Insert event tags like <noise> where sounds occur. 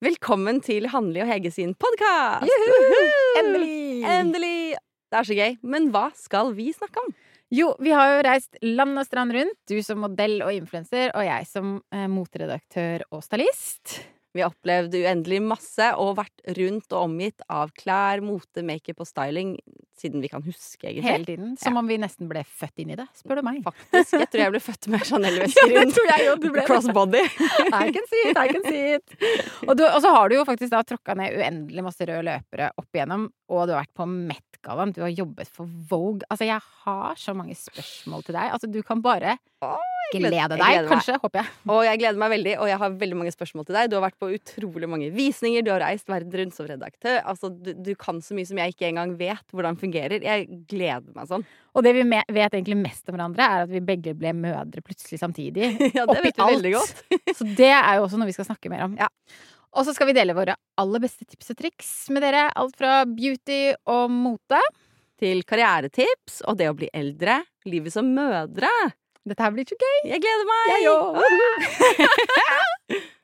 Velkommen til Hanli og Hege sin podkast! Endelig! Endelig! Det er så gøy. Men hva skal vi snakke om? Jo, vi har jo reist land og strand rundt. Du som modell og influenser, og jeg som eh, moteredaktør og stylist. Vi har opplevd uendelig masse og vært rundt og omgitt av klær, mote, makeup og styling siden vi kan huske, Hele egentlig. tiden. Som om vi nesten ble født inn i det, spør du meg. Faktisk. Jeg tror jeg ble født med sånn Chanel-vesker <laughs> Ja, det tror jeg jo du ble. rundt. Crossbody. I can see it, I can see it. Og, du, og så har du jo faktisk da tråkka ned uendelig masse røde løpere opp igjennom, og du har vært på Met-gallaen, du har jobbet for Vogue. Altså, jeg har så mange spørsmål til deg. Altså, du kan bare jeg gleder- glede jeg deg, gleder meg. kanskje, håper jeg. Og jeg gleder meg veldig, og jeg har veldig mange spørsmål til deg. Du har vært på utrolig mange visninger, du har reist verden rundt som redaktør. Altså, du, du kan så mye som jeg ikke engang vet hvordan fungerer. Jeg gleder meg sånn. <laughs> Og det vi me- vet egentlig mest om hverandre, er at vi begge ble mødre plutselig samtidig. Ja, Oppi det vet du alt. veldig godt. Så det er jo også noe vi skal snakke mer om. Ja. Og så skal vi dele våre aller beste tips og triks med dere. Alt fra beauty og mote. Til karrieretips og det å bli eldre. Livet som mødre. Dette her blir så gøy! Jeg gleder meg! Jeg òg!